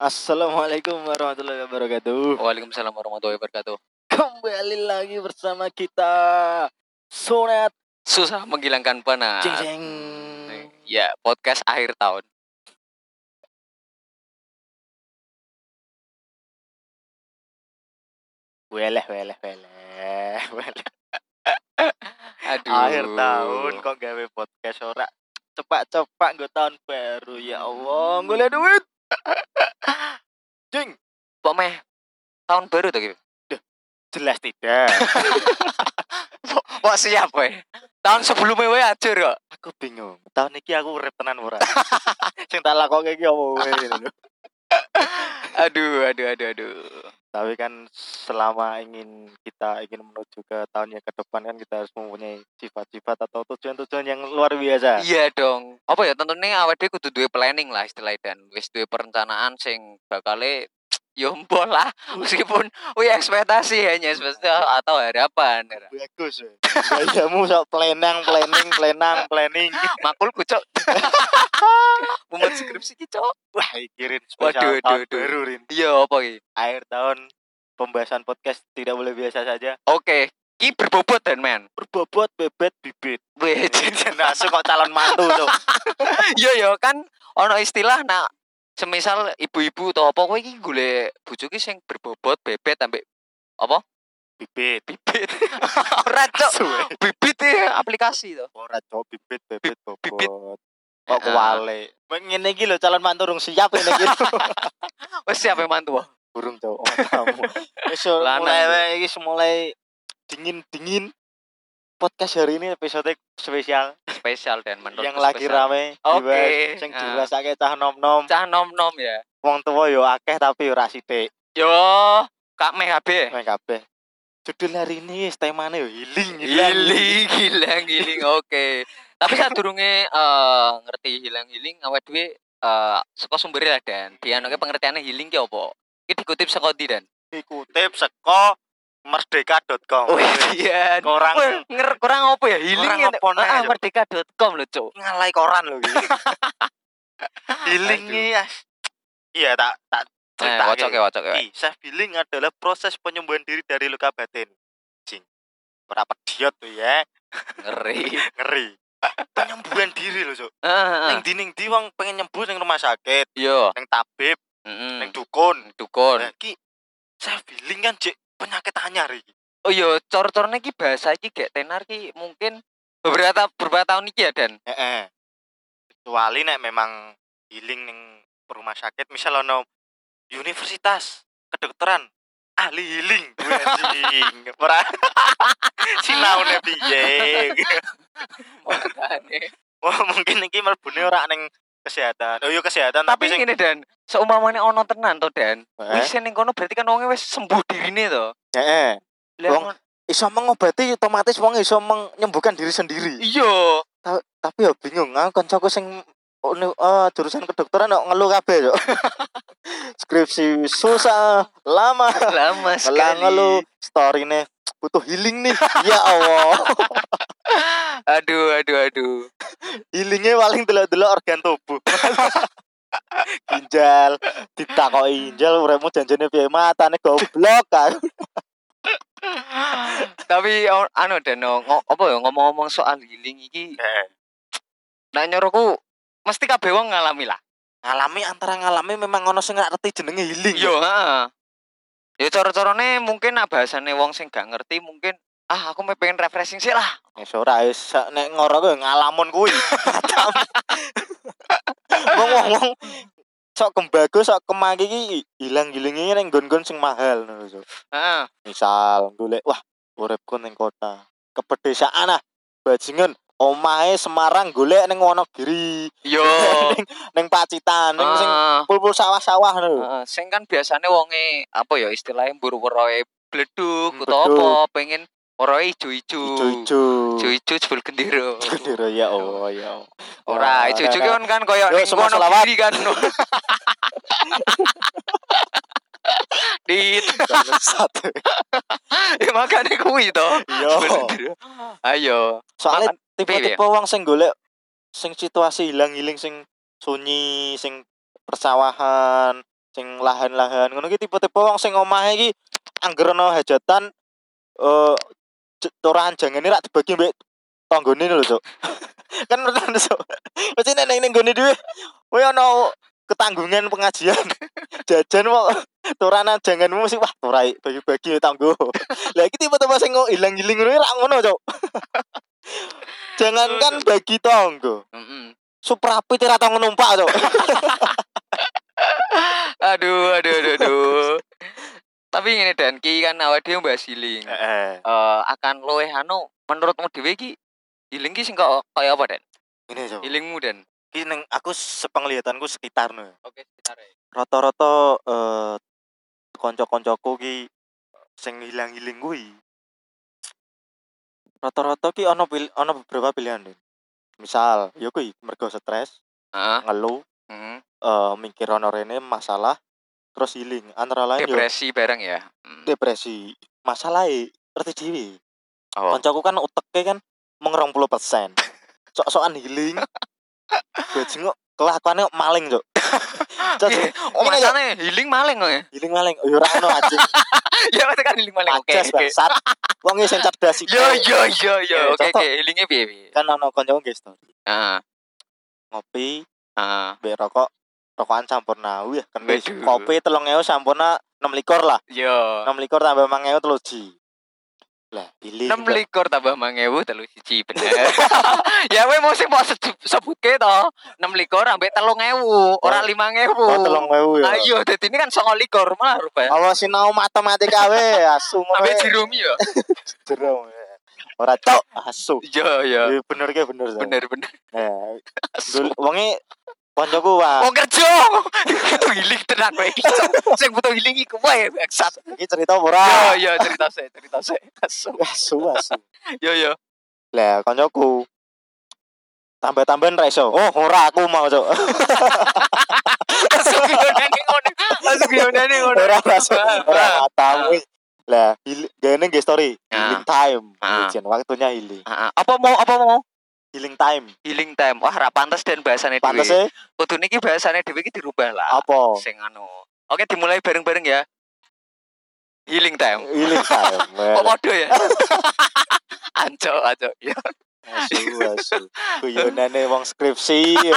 Assalamualaikum warahmatullahi wabarakatuh. Waalaikumsalam warahmatullahi wabarakatuh. Kembali lagi bersama kita Sunat Susah menghilangkan penat. Jeng Jeng. Ya, podcast akhir tahun. Weleh weleh weleh. weleh. Aduh. Akhir tahun kok gawe podcast ora cepak-cepak nggo tahun baru ya Allah, golek duit. Jeng, Kok meh tahun baru tuh gitu. jelas tidak. Kok siap we. Tahun sebelumnya we acur kok. aku bingung. Tahun iki aku urip tenan ora. Sing tak lakoke iki opo wae gitu lho. Aduh, aduh, aduh, aduh. Tapi kan selama ingin kita ingin menuju ke tahun yang ke depan kan kita harus mempunyai sifat-sifat atau tujuan-tujuan yang luar biasa. Iya dong. Apa ya tentunya awal dia kudu duwe planning lah istilahnya dan wis duwe perencanaan sing bakale yo mbo lah Hmm. meskipun we ekspektasi hanya ekspektasi Oh, atau harapan. Bagus. eh. ya. Gayamu sok planning, planning, planning, planning. Makul kucok. Mumet skripsi ki, Cok. Wah, kirim spesial Waduh, tahun waduh, waduh. baru Rin. Iya apa iki? Akhir tahun pembahasan podcast tidak boleh biasa saja. Oke, ki berbobot dan men. Berbobot bebet bibit. Wih, Nah, kok calon mantu tuh. yo yo kan ono istilah nak semisal ibu-ibu atau apa kowe iki golek bojo ki sing berbobot bebet ambek Bibit. bibit. Ora cok, Suwe. bibit ya aplikasi to. ora cowok bibit bebet bibit. Ah. bobot kok Heeh. kuwale ngene iki lho calon mantu rung siap ngene iki lho. Wes siapa yang mantu? burung cowok kamu wis Lanang, mulai Bu. wae iki mulai dingin-dingin podcast hari ini episode spesial Spesial dan menurut yang lagi rame Oke. dibahas, sing Ah. dirasake cah nom-nom Cah nom-nom ya. wong tua yo akeh tapi yo ra sithik Yo, Kak Meh kabeh. Meh kabeh judul hari ini wis temane yo healing Hiling, hilang, hiling. Oke. Tapi saat durunge eh, ngerti hilang-hiling awet dhewe eh saka sumbere lah dan dianoke pengertiane healing ki apa? Iki dikutip saka ndi dan? dikutip seko merdeka.com iya. Korang. Weh, nger kurang apa ya? Healing Kurang ngene- apa nih, Ah, Cuk? merdeka.com lho, Cuk. ngalai koran lho iki. Healing-nya ya. Iya tak tak Eh, cerita. wocok ya, wocok ya. Ih, self healing adalah proses penyembuhan diri dari luka batin. Jing. Ora pediot tuh ya, Ngeri. ngeri. penyembuhan diri lho, Cuk. Heeh. Ning di ning di wong pengen nyembuh ning rumah sakit, Yo. ning tabib, Mm-mm. ning dukun. Hmm. Dukun. Nah, iki self healing kan jek penyakit anyar iki. Oh iya, cor-corne ki bahasa iki gek tenar ki mungkin beberapa beberapa tahun iki ya dan. Heeh. Kecuali nek memang healing ning rumah sakit misal ono universitas kedokteran ahli healing Wih, anjing ora sinaune piye wah Oh, mungkin iki mlebune ora ning kesehatan oh iya kesehatan tapi, Tapi sing Eh, ini dan seumpamane ono tenan to dan. heeh Wis ning kono berarti kan wonge wis sembuh dirine to. heeh Lah, Wong- ngono- iso mengobati otomatis wong iso menyembuhkan diri sendiri Iya. Ta- tapi ya bingung aku kancaku sing uni- eh, jurusan kedokteran kok ngeluh kabeh yo skripsi susah lama Lama Malah sekali. ngeluh story nih butuh healing nih ya Allah Aduh, aduh, aduh. healingnya paling delok-delok organ tubuh ginjal ditakoki ginjal uremu janjane piye matane goblok kan Tapi o- anu dan no, ngo- apa ya ngomong-ngomong soal healing iki, nek nyoroku mesti kabeh wong ngalami lah. ngalami antara ngalami memang ono sing nggak ngerti jenenge healing Yo, Iya, heeh. Ya cara-carane mungkin nak bahasane wong sing gak ngerti mungkin ah aku mau pengen refreshing sih lah. wis ora wis sak- nek ngoro kuwi ngalamun kuwi wong-wong sok kembago sok kemangi iki ilang-ilinge ning nggon-nggon sing mahal ngono lho, Cuk. Heeh. misal golek wah uripku ning kota ke pedesaan ah bajingan omahe Semarang golek ning Wonogiri Yo. ning ning Pacitan ning sing Heeh. pul-pul sawah-sawah ngono lho. Heeh, sing kan biasane wonge apa ya istilahnya buru weroe bleduk Hmm, utawa beduk. apa pengen weroe ijo-ijo. ijo-ijo Ijo-ijo jebul gendero. Gendera, ya Allah ya Allah Ora, ijo-ijo ora, kan kan koyo Yo, ning semua kono selawat. kiri kan. Dit, ora. satu ya makane kuwi to. yo Gendero. Ayo. Oh. soalnya piye, tipe-tipe wong sing golek sing situasi hilang-hiling sing sunyi sing persawahan sing lahan-lahan ngono ki tipe-tipe wong sing omahe iki angger ana hajatan eh j- torahan jangene rak dibagi mbek tanggone lho, Cuk. kan ngerti Cuk. Mesti nek ning nggone dhewe kowe ana ketanggungan pengajian. Jajan kok torahan janganmu mesti wah torai bagi-bagi tanggo. Lah iki tipe-tipe sing ilang-iling ngono ki rak ngono, Cuk. Jangankan bagi tanggo. Mm-mm. Suprapit ora tau numpak, Cuk. aduh aduh aduh aduh tapi ini dan ki kan awal dia mbak siling Heeh. Eh, akan loe anu menurutmu dewi ki healing ki sing kok kaya apa dan Ini, Cuk. healingmu dan Ki neng aku sepenglihatanku sekitar no. oke sekitar Rata-rata eh kanca-kancaku ki sing hilang-hiling kuwi. Rata-rata ki ana pil- ana beberapa pilihan. Den. Misal, ya kuwi mergo stres, Heeh. ngeluh, Mm. eh mikir ana rene masalah, terus healing. Antara lain yo depresi bareng ya Mm. depresi. Masalahe ngerti dhewe. Oh. Kancaku kan uteke kan mung 20%. Sok-sokan healing. Gue jenguk kelakuannya maling, Cuk. Cuk, Iya, Oh, Ini ya. macane healing maling kok ya. Giling maling, yo ora ono aja. Ya masa kan healing maling. Oke. Pajas oke. bangsat. Wong iki sing cerdas iki. Yo yo yo yo. Oke, Oke contoh. oke, healingnya piye piye? Kan ono kancaku nggih story. Heeh. Ngopi, Heeh. mbek rokok. Rokokan sampurna wih kan wis. Waduh. Kopi 3000 sampurna 26 lah. Yo. 26 tambah 5000 teluji. Lah, pilih. 6 likur tambah mangewu telu siji bener. ya we mau sih mau sebut ke to. 6 likur ambek telu ngewu. Ora lima ngewu. Oh, Oh, 3000 ya. Ayo, jadi ini kan songo likur malah rupanya. Allah sinau matematika we, asu ngono Ambek we. jirumi ya. jero. we. Ora tok, asu. Yo yo. Iya, bener ke bener. Sam. Ya. Bener bener. Eh, dul- wonge kancaku wae. Wong kerja. Oh, Butuh healing tenang kowe iki. Sing butuh healing iku wae bangsat. Iki cerita apa ora. Ya, Yo yo cerita saya, cerita Iya, saya. Asu. Asu, asu. Yo yo. Lah koncoku tambah-tambahan ra iso. Oh, ora aku mau, Cuk. Masuk yonane ngono. Masuk yonane ngono. ora masuk. Ora matamu. Lah, heal- gene nggih story. Ah. Healing time. Ah. Jen, waktunya healing. Ah, ah. Apa mau apa mau Healing time. healing Ah. time. Wah, ra pantes ya. dan bahasane dhewe. Pantese Kudune iki bahasane dhewe iki dirubah lah. apa? Sing anu. Oke, dimulai bareng-bareng ya. Healing time. Healing time. Kok Well, podo ya? Anco, anco. Ya. Asu, asu. Guyonane e wong skripsi. ya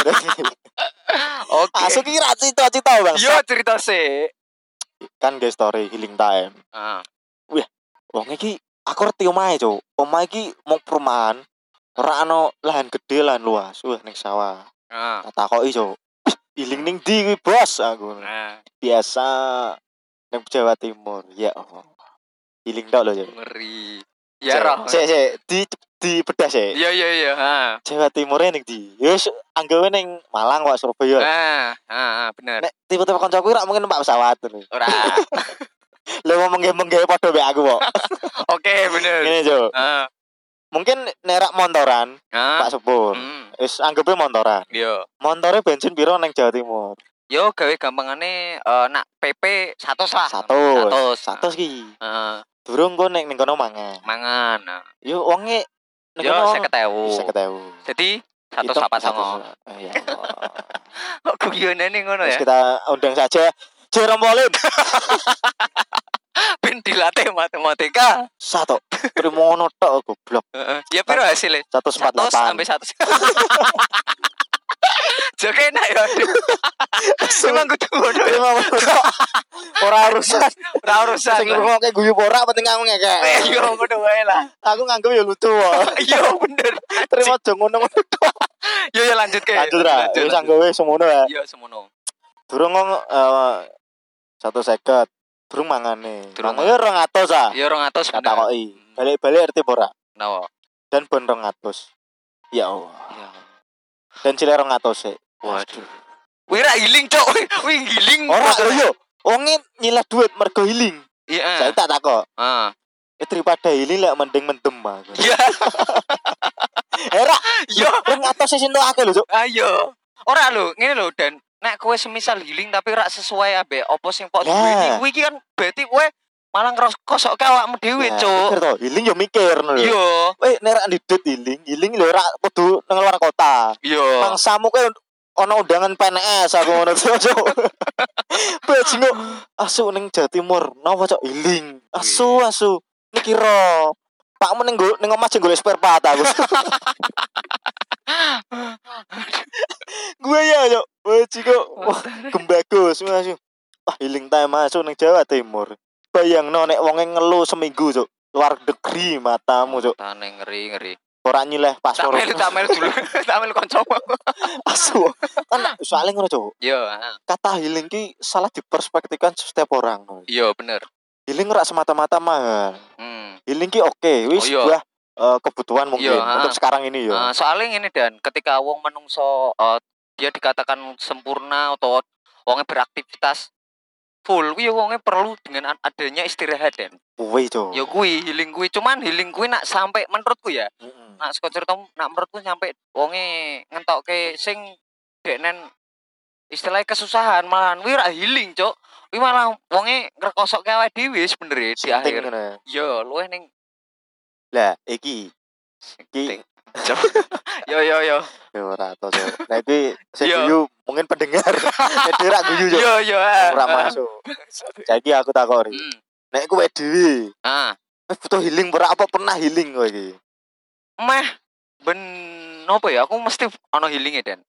Oke. Asu ki ra cita-cita, Bang. Yo cerita sih. Kan nggih story healing time. Ah, Wong iki aku ngerti omahe, Cuk. Omahe iki mau perumahan. Ora ana lahan gede lahan luas. Wah, ning sawah. ah. tak takoki iso iling ning ndi kuwi, bos aku Nah, biasa ning Jawa Timur ya Allah iling tok lho yo ngeri. Ya roh. sik sik di di bedah sik Iya, iya, iya. Ah, Jawa Timurnya ning ndi Ya, wis anggawe ning Malang kok Surabaya ah, ah, ah, bener. nek tipe-tipe kancaku ora mungkin numpak pesawat lho Ora. lha mau mengge-mengge padha mek aku kok Oke, bener. ngene jo Ah, mungkin nerak montoran ah. Pak Sepur Hmm. wis anggape montoran Yo. montore bensin piro ning Jawa Nah. Timur Yo gawe gampangane eh, nak PP 100 lah. 100 100. 100. 100 ki Heeh, durung kok ning ning kono mangan mangan. Nah, yo wonge ning Yo kono 50.000 50.000. Jadi Itu 180. Eh, Ya Allah. Kok guyonane ngono Terus ya? kita undang saja Jerome Pauline. Ben dilatih matematika. Satu. Trimono tok oh, goblok. Heeh. Ya piro hasilnya? 100 sampai 148. 100. Jek enak ya. aduh. Emang kudu ngono. ya? Trimono tok. Ora urusan. Ora urusan. Sing ngrungokke guyu ora penting aku ngekek. Eh, Yo ngono wae lah. Aku nganggep ya lucu kok. Yo bener. Terima aja ngono ngono tok. Yo yo lanjut ke. Lanjut ra. Lanjut, Wis lanjut. anggo wis semono ya. Yo semono. Durung ngong eh, satu seket. Durung mangane. Durung Mangane 200 ah. Yo 200 Tak bener. Hmm. takoki. Balik-balik RT ora Nawa. dan bon 200. Ya Allah. Yo. Dan cilek 200 sik. Waduh. Wih, ra healing cok. Wih, Wih, healing. Ora lho yo. Wonge nyilah duit mergo healing. Saya Iya. tak takok. ah. Eh, daripada healing lek mending mendem aku. Ya, Era yo. ring atas sing entuk akeh lho, Cuk. Ayo. Ah, iya. Ora lho, ngene lho dan nek kowe semisal healing tapi ora sesuai ambek apa sing pok Lah. duweni kuwi iki kan berarti kowe malah ngeros kosokke awakmu dhewe, Ya, Cuk. Iya, mikir to, healing yo mikir ngono lho. Yo, Eh, nek ra ndidit healing, healing lho ora kudu nang luar kota. kan yo. Bangsamu kowe ono undangan PNS aku ngono Cuk. Cuk. Bajingo asu ning Jawa Timur napa cok healing. Asu Iya. asu. Niki ro. Pakmu ning go- ning omah jeng golek spare part aku. Gue ya cok. Bajingo wah gembagus asu. Wah healing time asu ning Jawa Timur. Bayangno nek wonge ngelu seminggu cok. Luar negeri matamu cok. Tane ngeri ngeri. Ora nyileh Tak paspor. melu tak melu dulu. Tak melu kancamu. Asu. Kan soalnya ngono cok. Yo, Kata healing ki salah diperspektifkan setiap orang. yo iya, bener. Healing ora semata-mata mahal. Hmm. healing ki oke wis Oh, iya. sebuah eh, kebutuhan mungkin Iya, ha. untuk sekarang ini ya Eh, soalnya ini dan ketika wong menungso eh, dia dikatakan sempurna atau wongnya beraktivitas full kuwi wongnya perlu dengan ad- adanya istirahat dan kuwe jo ya kuwi healing kuwi cuman healing kuwi nak sampai menurutku ya Mm-mm. nak saka cerita nak menurutku sampai wonge ngentokke sing deknen istilahnya kesusahan malahan kuwi ra healing cok kuwi malah wonge ngrekosokke awake dhewe sebenere di Sinting akhir ngono. yo luwih ning lah iki iki yo yo yo yo ora to jo nah iki sing Iya. guyu mungkin pendengar jadi ora guyu jo yo yo eh. ora masuk jadi aku takori Hmm. nek kowe dhewe ah wis butuh healing ora apa pernah healing kowe iki meh ben apa ya aku mesti ono healing dan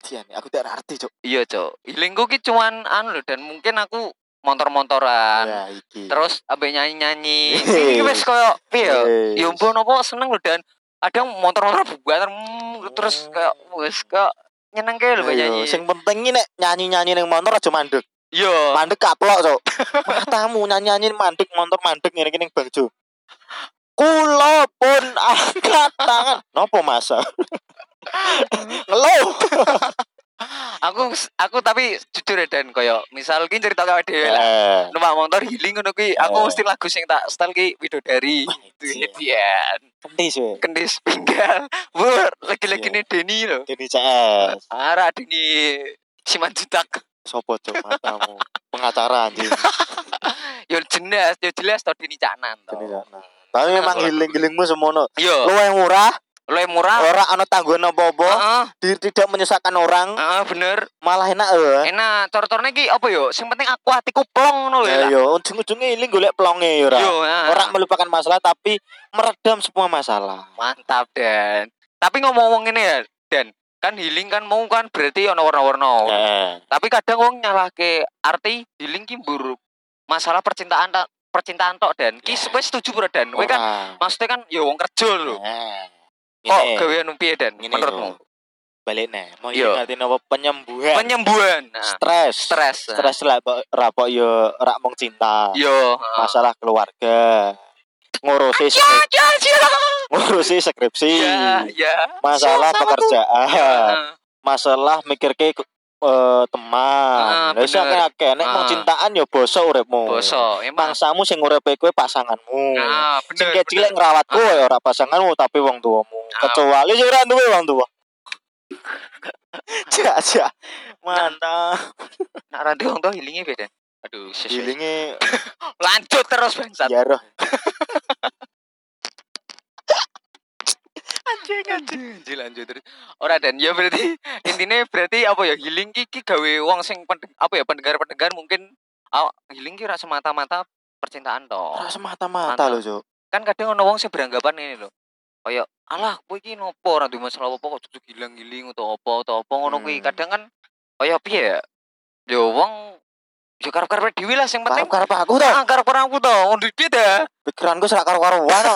Idian, aku tak arti cok iya cok healingku ki cuman anu lho dan mungkin aku motor-motoran ya iki terus abe nyanyi-nyanyi iki wis koyo piye ya Wis. ya mbok napa seneng lho dan ada motor-motor buatan mm, terus kayak wis kayak nyeneng ke Ayo, lho mbak nyanyi Iya, sing penting ini nek nyanyi-nyanyi ning motor aja mandek. iya Mandek kaplok, Cok. Matamu nyanyi-nyanyi mandek motor mandek ngene iki ning Bang Jo. Kula pun angkat tangan. Nopo masa? Ngeluh. aku aku tapi jujur ya dan koyo misal ki cerita awake dhewe lah Eh, numpak motor healing ngono Eh. kuwi aku mesti lagu sing tak setel ki widodari Iya. Iya. Kenti sih. kendis pinggal wur lagi-lagi Iya. nih Denny loh Jadi CS. arah Denny Simanjutak Sopo Cok matamu? Pengacara anjing. yo jelas yo jelas tau Denny Caknan Jadi gak tau nah. Tapi memang Aku- healing-healingmu semono. yo Lu yang murah, lo yang murah ora ana tanggungan apa-apa, Heeh, di- tidak menyusahkan orang, heeh, bener malah enak eh. enak cor-cornya ki apa yo sing penting aku hatiku plong ngono lho Ya ya yo, ujung-ujungnya healing golek pelonge yo ora. yo heeh. orang melupakan masalah tapi meredam semua masalah mantap dan tapi ngomong-ngomong ini ya dan kan healing kan mau kan berarti ono warna-warna eh, tapi kadang wong nyalah ke arti healing ki buruk masalah percintaan tak percintaan tok dan ki Ya. wis setuju bro dan kowe kan orang. maksudnya kan ya wong kerja lho Eh, kok gini, gawean piye dan gini menurutmu lho. balik nih mau Iya. ngerti apa penyembuhan penyembuhan nah, stres stres Ya. Iya. stres lah kok rapok yo rak mung cinta yo heeh. masalah keluarga ngurusi ya skrip- ya ya ngurusi skripsi ya Iya. ya masalah Sama-sama tuh. Iya. pekerjaan Heeh. masalah mikir ke eh, teman Ah, wis bener. akeh nek mung Ah. cintaan yo boso uripmu boso emang mangsamu sing urepe kowe pasanganmu nah sing bener cilik bener. ngrawat kowe ora pasanganmu tapi wong tuamu. Ah. Kecuali sing ora duwe wong tuwa. Ja ja. Nah, Mantap. nak ranti wong tuh healingnya beda aduh sis, sis. Gilinge lanjut terus bangsat ya roh. anjing anjing anjing lanjut terus ora dan ya berarti intinya berarti apa ya healing ki ki gawe wong sing pendeng, apa ya pendengar-pendengar mungkin aw- healing ki ora semata-mata percintaan tok Ora semata-mata lho, Cuk. kan kadang ono wong sing beranggapan ini lho. Kayak alah kowe iki nopo ora duwe masalah apa kok duduk gilang-giling atau apa atau apa ngono kuwi. Hmm. Kadang kan kaya piye ya? Ya wong ya karep-karep dhewe lah sing penting Karep-karep aku to. angkar perang to ngono iki ta. Pikiranku serak karo karo wae to.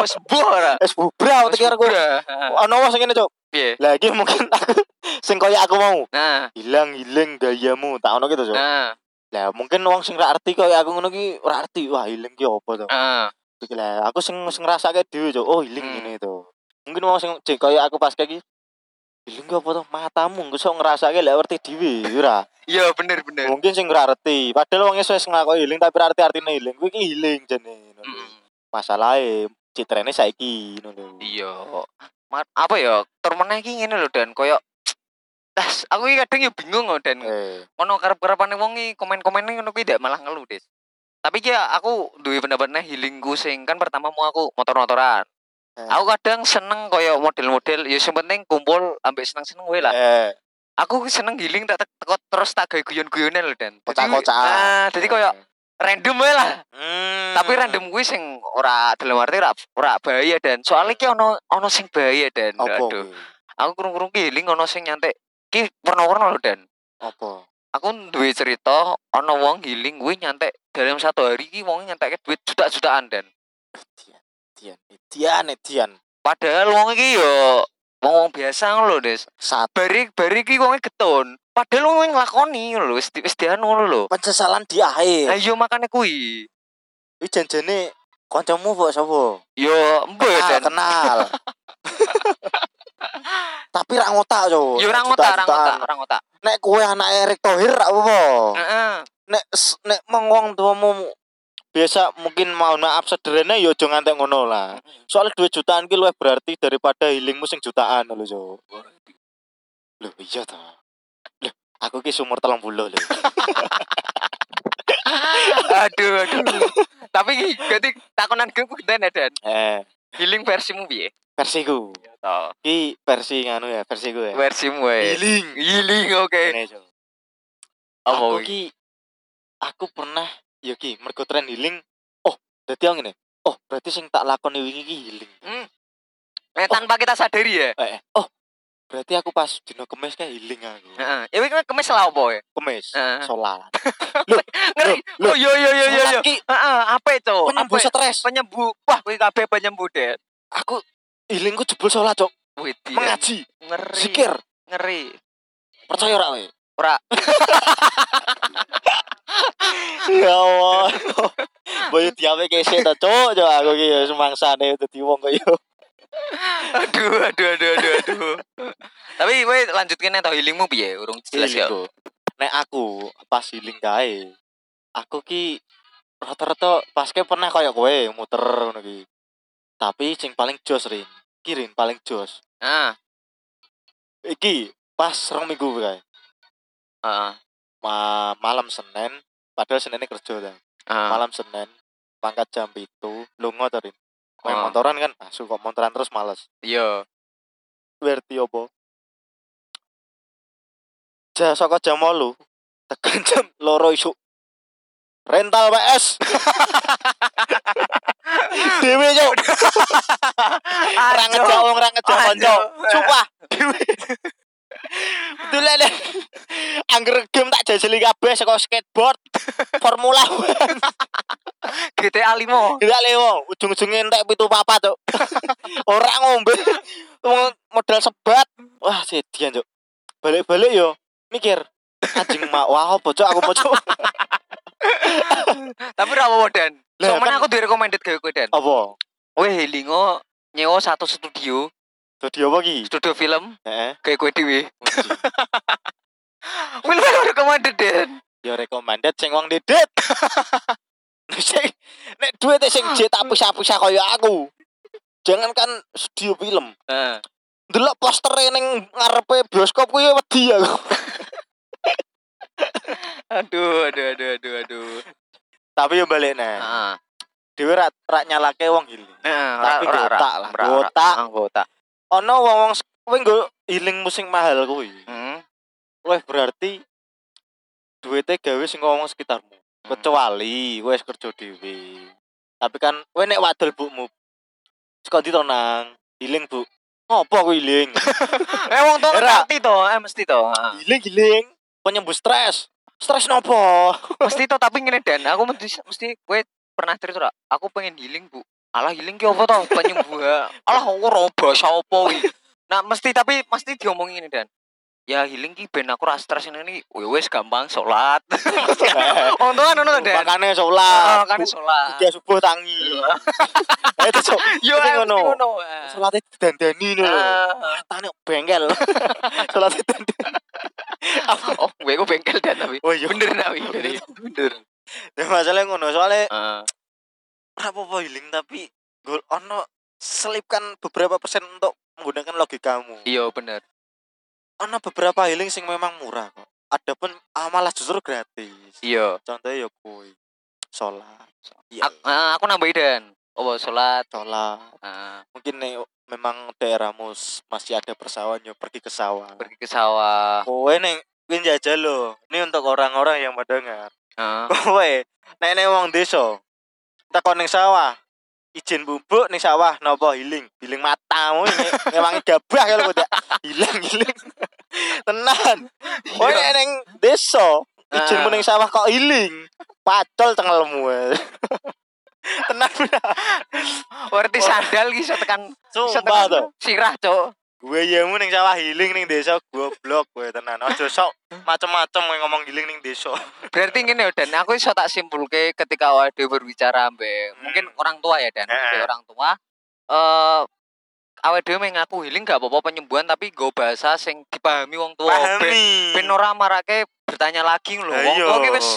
Wes boh ya, ora. Wis bubrau Wes pikirku. udah. Heeh. Ono wong sing ngene, Cuk. Piye? Lah iki mungkin aku sing koyo aku mau. Nah, Hilang-hilang dayamu, tak ono gitu, Cuk. nah, Lah mungkin wong sing ra arti koyo aku ngono ki ora arti. Wah, hilang ki opo to? heeh. Iki lah, aku sing sing ngrasake dhewe Cuk. Oh, healing Hmm. ngene to. Mungkin wong sing jek kaya aku pas kayak iki. Healing ki apa to? Matamu engko sok ngrasake lek ngerti dhewe ya ora. Iya bener bener. Mungkin sing ora ngerti. Padahal wong iso wis nglakoni healing tapi ora arti artine healing. Kuwi ki healing jene. Mm, Masalahe citrane saiki ngono lho. Iya. Ma- Apa ya? Termeneh iki ngene lho dan koyo Tas, aku iki kadang ya bingung loh dan Eh, ono karep-karepane wong iki komen-komennya ngono kuwi ndak malah ngeluh, Des. Tapi ki aku duwe pendapatnya healingku sing kan pertama mau aku motor-motoran. Eh. Aku kadang seneng koyo model-model ya sing penting kumpul ambek seneng-seneng wae lah. eh, aku seneng healing tak tak- teko terus tak gawe guyon-guyonan lho Dan. Jadi- Kocak-kocakan. Ah, jadi koyo eh. random wae lah. Hmm. Tapi random kuwi sing ora dalam arti ora, ora bahaya Dan. Soalnya ki ono ono sing bahaya Dan. Apa? Aduh. Aku kurung-kurung ki healing ono sing nyantek ki warna-warna lho Dan. Apa? Aku duwe cerita ono wong healing kuwi nyantek dalam satu hari ki wong nyantekke duit juta-jutaan Dan. Edian, Edian, Edian, Edian. Padahal wong iki yo wong, -wong biasa ngono lho, Des. Saat Bari bari iki wonge getun. Padahal wong yang nglakoni ngono lho, wis di- wis dianu ngono lho. penyesalan di Lah akhir. yo makane kuwi. Iki janjane kancamu kok sapa? Yo embe Ah, dan kenal. Tapi ra ngotak yo. yo ora ngotak, ora ngotak, ora ngotak. Nek kowe anake Erick Thohir ra apa? Heeh. Nek s- nek mengwong tuamu biasa mungkin mau maaf sederhana yo aja ngantek ngono lah. Soalnya dua jutaan ki luwih berarti daripada healingmu sing jutaan lho, Jo. Lho iya ta. Lho, aku ki umur 30 lho. aduh, aduh. Tapi iki berarti takonan gue ku geden ya, Dan. Eh, Healing versimu piye? versiku. Oh, Ki versi nganu ya, versi gue. Ya. versimu wae. Healing. Healing oke. Ngene, Jo. ya, Eh, Apa aku kuwi? ki aku pernah ya ki mergo tren healing. Oh, dadi aku ngene. Oh, berarti sing tak lakoni wingi ki healing. Hmm. Eh tanpa kita sadari ya. Eh, eh, oh, berarti aku pas dino kemis kan healing aku. Heeh. Ya kuwi kan kemis lah opo ya? Kemis, Heeh. sholat. Ngeri. Lho, Oh, yo yo yo yo yo. Sholat ki Heeh, apa itu? penyembuh stres. penyembuh wah kuwi kabeh penyembuh deh Aku healingku jebol sholat, Cok. Wih, dia Mengaji, ngeri zikir. ngeri Percaya ora kowe? Ora. Ya Allah. Boyo diawe kese ta, Cok. Cok aku ki ya semangsane dadi wong kok yo. aduh aduh aduh aduh aduh tapi kowe lanjutkan nih tau healingmu piye urung jelas ya Healing-ku. Nek aku pas healing kae, aku ki rata-rata pas ke pernah kaya kowe muter ngono ki. Tapi sing paling jos rin, ki Rin, paling jos. ah Iki pas rong minggu kae. ah Ma- malam Senin, padahal Seninnya kerja ta. ah Malam Senin, pangkat jam itu, lunga ta Rin. Main Ah. motoran kan, asu kok motoran terus males. yo Berarti opo? Ja saka jam 8 tekan jam loro isuk. Rental PS. Dewe yo. Ora ngejak wong, ora ngejak kanca. Sumpah. Dewe. Betul le. Angger game tak jajeli kabeh saka skateboard, Formula 1. GTA limo Gila le wong, ujung-ujunge entek pitu papat cuk. Ora ngombe. Wong Modal sebat. Wah, sedian cuk. Balik-balik yo mikir anjing mak wah apa cuk aku mau cuk. tapi rawa dan Lah, cuman kan- aku direkomended gawe kowe dan Apa? kowe healingo nyewa satu studio Studio apa ki? studio film Heeh. gawe kowe dhewe Wil wil recommended dan Yo recommended sing wong didet. Sing nek duwe sing jet tak pisah-pisah kaya aku. Jangan kan studio film. Heeh. Delok poster ning ngarepe bioskop kuwi wedi aku. aduh aduh aduh aduh aduh Tapi yo balik neh. Heeh. Dhewe ra ra nyalake wong healing. ora- tapi ora- gotak lah ora- ora. gotak gotak ono wong wong kowe nggo healing musing mahal kuwi. hmm. Wah berarti duwite gawe sing ngomong sekitarmu. Kecuali kowe wis kerja dhewe. Tapi kan kowe nek wadul bukmu. Saka ndi to nang? Healing, Bu. Ngopo kowe healing? eh wong tuh Era. ngerti to eh mesti to Heeh. healing healing penyembuh stres. Stres nopo? mesti to tapi ngene dan aku mesti mesti kowe pernah cerita ora? aku pengen healing bu alah healing ki apa to penyembuh alah aku ora bahasa apa kuwi nah mesti tapi mesti diomongin ngene dan ya healing ki ben aku ra stres ngene iki "Wih, wis gampang salat untungan Oh, ngono dan Makane Ah, sholat. kan salat Tiga subuh tangi. Eh cocok. yo mesti eh, mesti ngono. ngono Sholatnya dandani lho. Ah. Tane bengkel. Sholatnya dandani. oh gue gue bengkel dan tapi Oh iya. bener nawi bener bener Ah, Ya masalahnya ngono soalnya Heeh. ora apa-apa healing tapi gol ono selipkan beberapa persen untuk menggunakan logikamu. iya bener Ono beberapa healing sing memang murah kok. Adapun ah, malah justru gratis. iya Contohnya ya kui sholat. Ya, aku, eh, aku nambahin ah, dan oh sholat ah, sholat. Heeh. Mungkin nek memang daerahmu s- masih ada persawahan yo pergi ke sawah. pergi ke sawah Kowe neng kowe jajal lo. Ini untuk orang-orang yang mendengar. Heeh. Kowe nek nek wong desa takon ning sawah. Izin bubuk ning sawah nopo healing? Healing matamu ini memang gabah kalau kok hilang hilang. Tenan. Kowe Iya. nek ning desa izinmu Ah. ning sawah kok healing. Pacol tengelmu. eh. Tenan bro. Werti sandal ki iso tekan iso Sumpah tekan to. sirah, Cuk. gue yamu ning sawah healing ning desa goblok gue tenan ojo sok macem-macem kowe ngomong healing ning desa Berarti ngene yo, Dan, aku iso tak simpulke ketika awake dhewe berbicara ambek mungkin Hmm. orang tua ya, Dan. Heeh. Ambek orang tua eh awake dhewe meh ngaku healing gak apa-apa penyembuhan tapi go bahasa sing dipahami wong tua. Ben- pahami Iya. Ben ora marake bertanya lagi lho. Wong ayo tua ki wis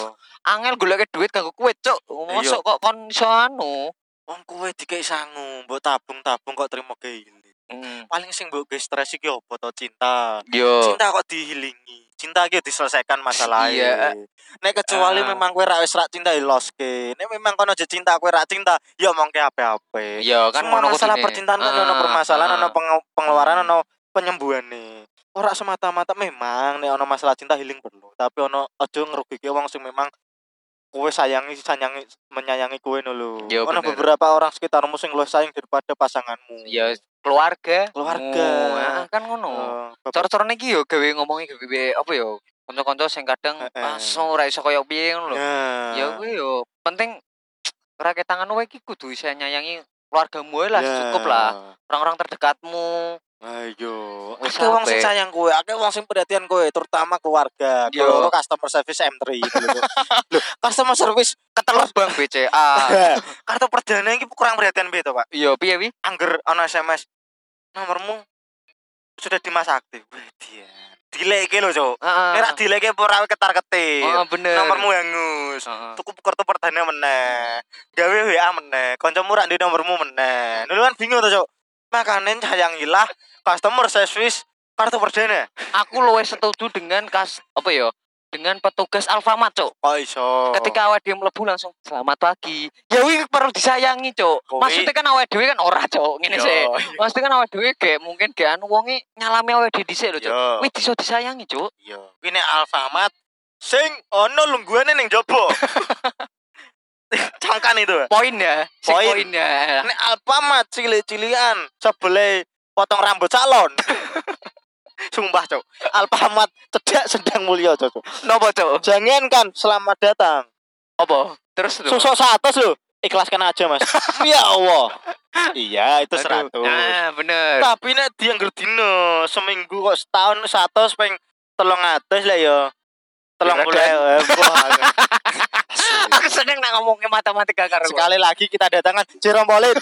angel goleke duit kanggo kowe, Cuk. Iya. Mosok kok kon iso anu. wong kowe dikek sangu mbok tabung-tabung kok terima ke healing Hmm. Iya. paling sing mbok ge stres iki apa to cinta Yo. cinta kok dihilingi cinta iki diselesaikan masalah e. Iya. nek kecuali Ah. memang kowe ra wis ra cinta iloske nek memang kono aja cinta kowe ra cinta ya omongke ape-ape Yo kan semua ngono masalah kudune. percintaan kan Ah, ono permasalahan ah. ono penge- pengeluaran Hmm. ono penyembuhan nih ora semata-mata memang nek ono masalah cinta healing perlu tapi ono aja ngerugike wong sing memang kowe sayangi sayangi menyayangi kowe no lho Yo, ono bener. beberapa orang sekitarmu sing luwih sayang daripada pasanganmu ya keluarga Keluarga. Oh, ah, kan ngono Eh, bab- cor-corne iki yo gawe ngomongi gawe apa yo kanca-kanca sing kadang Heeh. langsung ora iso koyo piye ngono lho Nah. ya kuwi yo penting rakyat tangan wae iki kudu iso nyayangi keluargamu wae lah Ya. Ah, iya. cukup lah orang-orang terdekatmu ayo Wis akeh wong sing apik. sayang kowe akeh wong sing perhatian kowe terutama keluarga Yo. kalau customer service M3 gitu lho Lho, customer service ketelur bang BCA kartu perdana ini kurang perhatian beto pak yo piye wi angger ono sms nomormu sudah dimasak aktif Wih, dia delay ke lo cowok heeh ini delay ke pura ketar ketir heeh Ah. Oh, bener Oh. nomormu hangus Heeh. tuku kartu perdana meneh gawe wa meneh kancamu rak di nomormu meneh dulu kan bingung tuh cowok makanin sayang ilah customer service kartu perdana aku luwih setuju dengan kas apa yo dengan petugas Alfamart cok oh iso ketika awak dhewe mlebu langsung selamat pagi ya wih perlu disayangi cok Kowe- maksudnya kan awak dhewe kan ora cok ngene Yo, sih maksudnya kan awak dhewe gak mungkin gak anu wonge nyalami awak dhewe dhisik lho cok yo wih iso disayangi cok yo ini alfamat sing ono lungguane ning jopo cangkan itu poin ya si Poin. poin ya Nek Alfamart cilik-cilian sebelah potong rambut salon. Sumpah, Cok. Alfamart cedak sedang mulia, Cok. Cok. nopo cok Jangan kan selamat datang. apa terus lho Susuk 100 lho. Ikhlaskan aja, Mas. ya Allah. Iya, itu 100. ah bener Tapi nek dianggur dino seminggu kok setahun 100 ping 300 lah ya. Telung Bener, puluh eh, wah. aku seneng nak ngomongin matematika karo kowe. Sekali lagi kita datangkan Jerome Pauline.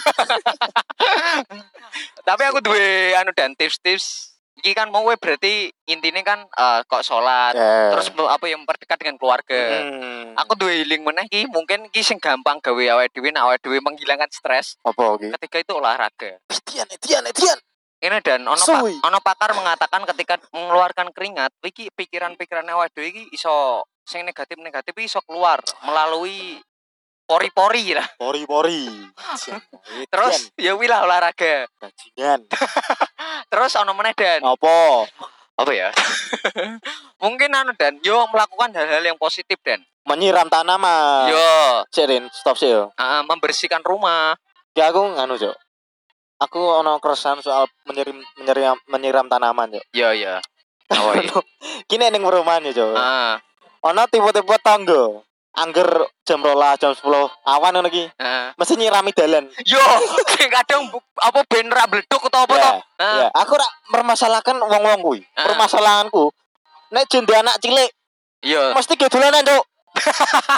tapi aku duwe anu dan tips-tips iki kan mau we berarti intinya kan eh, kok sholat terus apa yang memperdekat dengan keluarga Iya. Hmm. Eh. aku duwe healing meneh ki mungkin ki sing gampang gawe awake dhewe nek awake dhewe menghilangkan stres apa iki? ketika itu olahraga Edian, eh, edian, edian. ini dan ono pa- Suwi. ono pakar mengatakan ketika mengeluarkan keringat iki pikiran-pikiran awake dhewe iki iso sing negatif-negatif iki iso keluar melalui pori-pori lah Pori-pori. terus ya wih lah olahraga bajingan. terus ono meneh dan Oh, Apa? apa ya mungkin anu dan yo melakukan hal-hal yang positif dan Menyiram tanaman. yo Cek, Rin, stop sih yo. ah, membersihkan rumah Ya aku nganu, Cok. Aku ono keresahan soal menyiram menyiram menyiram tanaman, Cok. yo yo oh, iya. Kini ning perumahan ya, Cok. Ah, Ono tipe-tipe tangga. Angger jam 12, jam 10 awan ngono iki. ah. Mesti nyirami dalan. Yo, sing kadang bu- apa ben ra bleduk atau apa Ya, Ah, to? Heeh. ya. Aku rak mermasalahkan wong-wong kuwi. Ah. Permasalahanku nek jende anak cilik Yo. mesti gedulanan cuk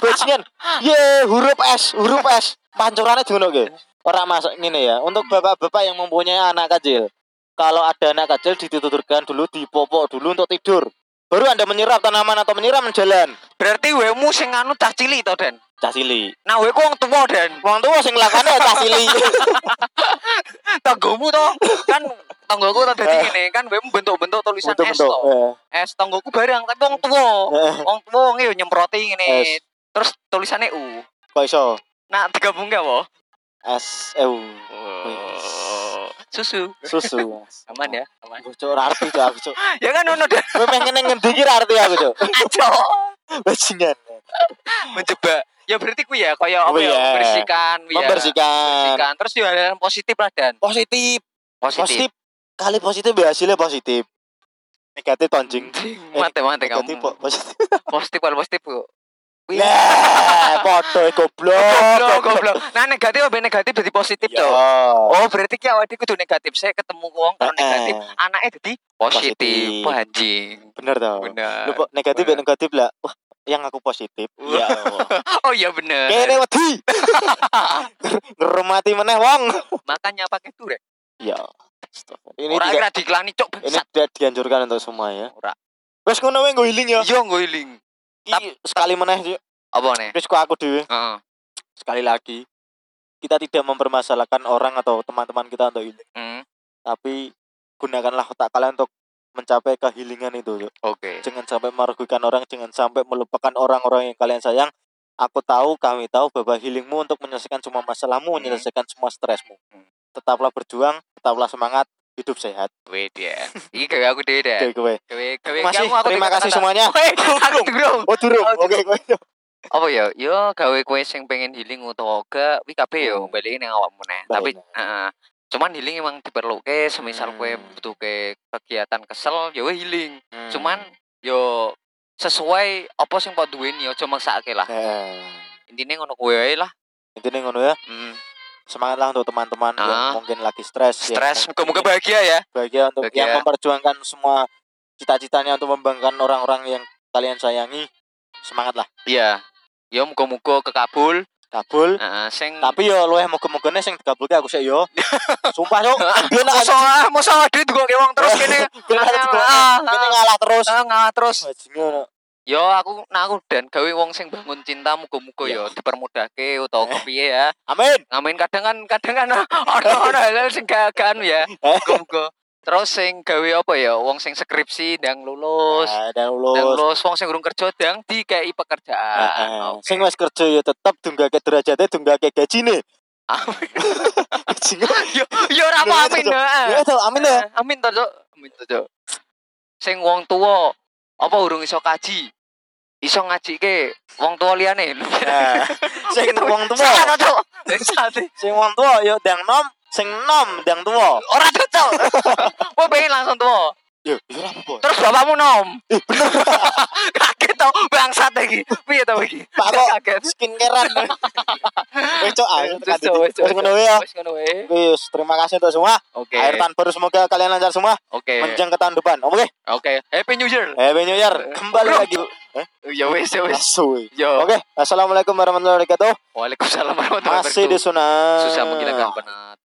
bajingan ye huruf S huruf S pancurannya dulu ke orang masuk ini ya untuk bapak-bapak yang mempunyai anak kecil kalau ada anak kecil ditutupkan dulu dipopok dulu untuk tidur baru anda menyerap tanaman atau menyiram jalan Berarti wemu sing anu cah cilik to, Den. casili Nah, weku wong tuwa, Den. Wong tua sing lakane ya casili Tanggomu to kan tanggoku to dadi ngene, kan wemu bentuk-bentuk tulisan bentuk S bentuk to. eh. S tanggoku bareng tapi wong tuwa. Wong tuwa wonge yo nyemproti ngene. S. Terus tulisannya U. kok iso Nah, digabung gak, wo? S EU susu susu mas aman ya aman Aku cok ra arti cok aku cok. ya kan nono dan Gue pengen yang ngendi ki ra arti aku cok. aco Bajingan. menjebak ya berarti ku ya kayak apa Oh, ya iya. membersihkan ya. Membersihkan. Membersihkan. terus juga ada yang positif lah dan Positif. Positif. Kali positif ya hasilnya positif. Negatif anjing. mate mate kamu Negatif po- positif. positif kalau positif bu Wih. Lah, foto goblok. Iya. goblok goblok nah negatif apa negatif jadi positif Yo. tuh oh berarti ki awake kudu negatif saya ketemu wong Eh, kalau eh. negatif anaknya jadi positif Positif. Wah, anjing Bener tau. bener Lu kok negatif ya Bener. negatif lah. Wah, yang aku positif. Wah. Ya Allah. oh iya bener Kene wedi. Ngerumati meneh wong. makanya pakai dure Ya. Astaga. Ini orang tidak, tidak dikelani cok ini bangsat tidak dianjurkan untuk semua ya. ora Wes ngono wae nggo healing ya. yo ngoiling Tapi Iya, sekali meneh yuk. apa nih wis kok aku dhewe. Heeh. Sekali lagi kita tidak mempermasalahkan orang atau teman-teman kita untuk healing, Hmm, tapi gunakanlah otak kalian untuk mencapai kehilingan itu. Yuk. oke Jangan sampai merugikan orang, jangan sampai melupakan orang-orang yang kalian sayang. Aku tahu, kami tahu bahwa healingmu untuk menyelesaikan semua masalahmu, Hmm. menyelesaikan semua stresmu. Hmm. Tetaplah berjuang, tetaplah semangat, hidup sehat. wait ya iki gawe aku dhewe deh Oke, kowe. gawe gawe Terima kasih, kamu aku terima dhewe kasih tak- semuanya. Weh, aku durung Oh, durung. Oh, Oke, kowe. apa ya yo gawe kue sing pengen healing utawa ke wi kabeh yo Hmm. balikin yang ya, awakmu neh Balik tapi neh. heeh. cuman healing emang diperluke semisal kue Hmm. butuh ke kegiatan kesel yo healing cuman Hmm. yo sesuai apa sing kau duweni yo cuma maksake lah eh, intinya ngono kue wae lah intinya ngono ya. Hmm. Semangatlah untuk teman-teman yang Ah. mungkin lagi stres, ya. yang stres mungkin moga-moga bahagia ya bahagia untuk Bahagia. yang memperjuangkan semua cita-citanya untuk membanggakan orang-orang yang kalian sayangi semangatlah iya yo moga-moga kekabul kabul Heeh, sing tapi yo luweh moga-mogane sing dikabulke aku sih yo sumpah yo Ah. yo nak Masa- masa duit gua ke wong terus kene kene Ah, juga- ah, kene ngalah terus ah, ngalah terus bajingan Yo aku nah aku dan gawe wong sing bangun cinta muga-muga yo dipermudahke Eh. utawa kepiye ya. amin Ngamen kadang kan kadang kan ono ono hal sing gak gak anu ya. Eh. Muga-muga. Terus sing gawe apa ya wong sing skripsi ndang lulus, ada Ah, ndang lulus Eh, lulus wong sing urung kerja ndang dikei Heeh. pekerjaan. ah. Oke. sing wis kerja yo tetep dunggake derajate dunggake gajine Amin. bajingan Yo yo ora apa amin. heeh. ya tau amin ya Eh, Amin to, Cuk. Amin to, Cuk. Sing wong tuwa apa urung iso kaji? Iso ngajike wong tuwa liyane. Nah, sing Ah. Kita- wong tua Salah to, Cuk. Eh, salah. sing wong tua yo dang nom sing nom dang tua Ora cocok. Gue pengen langsung tuh. yo yo ora apa Terus bapakmu nom. Kaget tau bangsat lagi. Piye tau iki? Pak, kok- Ah, kaget. skincarean. Wes cok, ayo Wes, tekan titik. wes, wes, Wes ngono wae ya. Wis ngono wae. Wis, terima kasih untuk semua. Oke. Akhir tahun baru semoga kalian lancar semua Oke. menjang ke tahun depan. Oke. Oke. Happy New Year. Happy New Year. Eh, Kembali Bro. lagi. Eh? Ya wis ya wis. Asuh. Yo. Oke, Assalamualaikum warahmatullahi wabarakatuh. Waalaikumsalam warahmatullahi Masih di wabarakatuh. Sunan. Susah menghilangkan penat.